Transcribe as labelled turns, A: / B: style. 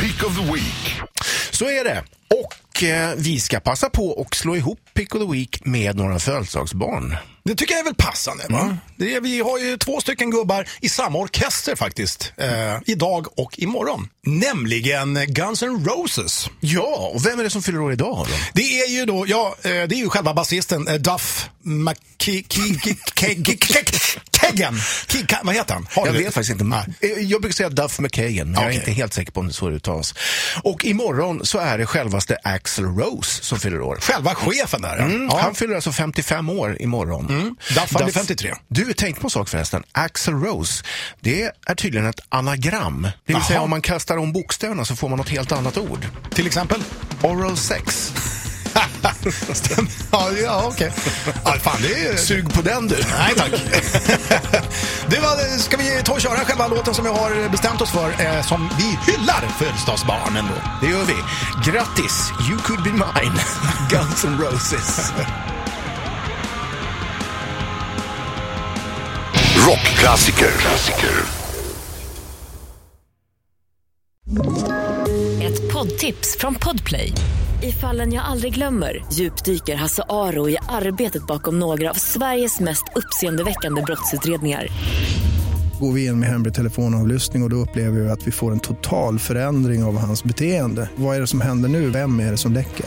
A: Pick of the Week.
B: Så är det. Och eh, vi ska passa på och slå ihop Pick of the Week med några födelsedagsbarn.
C: Det tycker jag är väl passande. Va?
B: Mm.
C: Det är, vi har ju två stycken gubbar i samma orkester faktiskt. Eh, idag och imorgon. Nämligen Guns N' Roses.
B: Ja, och vem är det som fyller år idag? Då?
C: Det är ju då, ja, eh, det är ju själva basisten eh, Duff McKeggan. Vad heter han? Har
B: Jag
C: du-
B: vet faktiskt inte.
C: Nej.
B: Eh, Jag brukar säga Duff McKagan, men jag är
C: Okej.
B: inte helt säker på om det är så det uttalas. Och imorgon så är det självaste Axl Rose som fyller år.
C: Själva chefen där. ja.
B: Mm,
C: ja.
B: Han fyller alltså 55 år imorgon.
C: Duff, han blir 53.
B: Du, tänk på en sak förresten. Axl Rose, det är tydligen ett anagram. Det vill
C: Jaha.
B: säga om man kastar om bokstäverna så får man något helt annat ord.
C: Till exempel?
B: Oral sex.
C: Stämmer. ja, ja okej. Ja, fan, det är ju...
B: Sug på den du.
C: Nej tack. det var, ska vi ta och köra själva låten som vi har bestämt oss för, eh, som vi hyllar födelsedagsbarnen då.
B: Det gör vi. Grattis, you could be mine. Guns N' Roses.
A: Rockklassiker. Klassiker.
D: Ett poddtips från Podplay. I fallen jag aldrig glömmer djupdyker Hasse Aro i arbetet bakom några av Sveriges mest uppseendeväckande brottsutredningar.
E: Går vi in med hemlig telefonavlyssning och, och då upplever vi att vi får en total förändring av hans beteende. Vad är det som händer nu? Vem är det som läcker?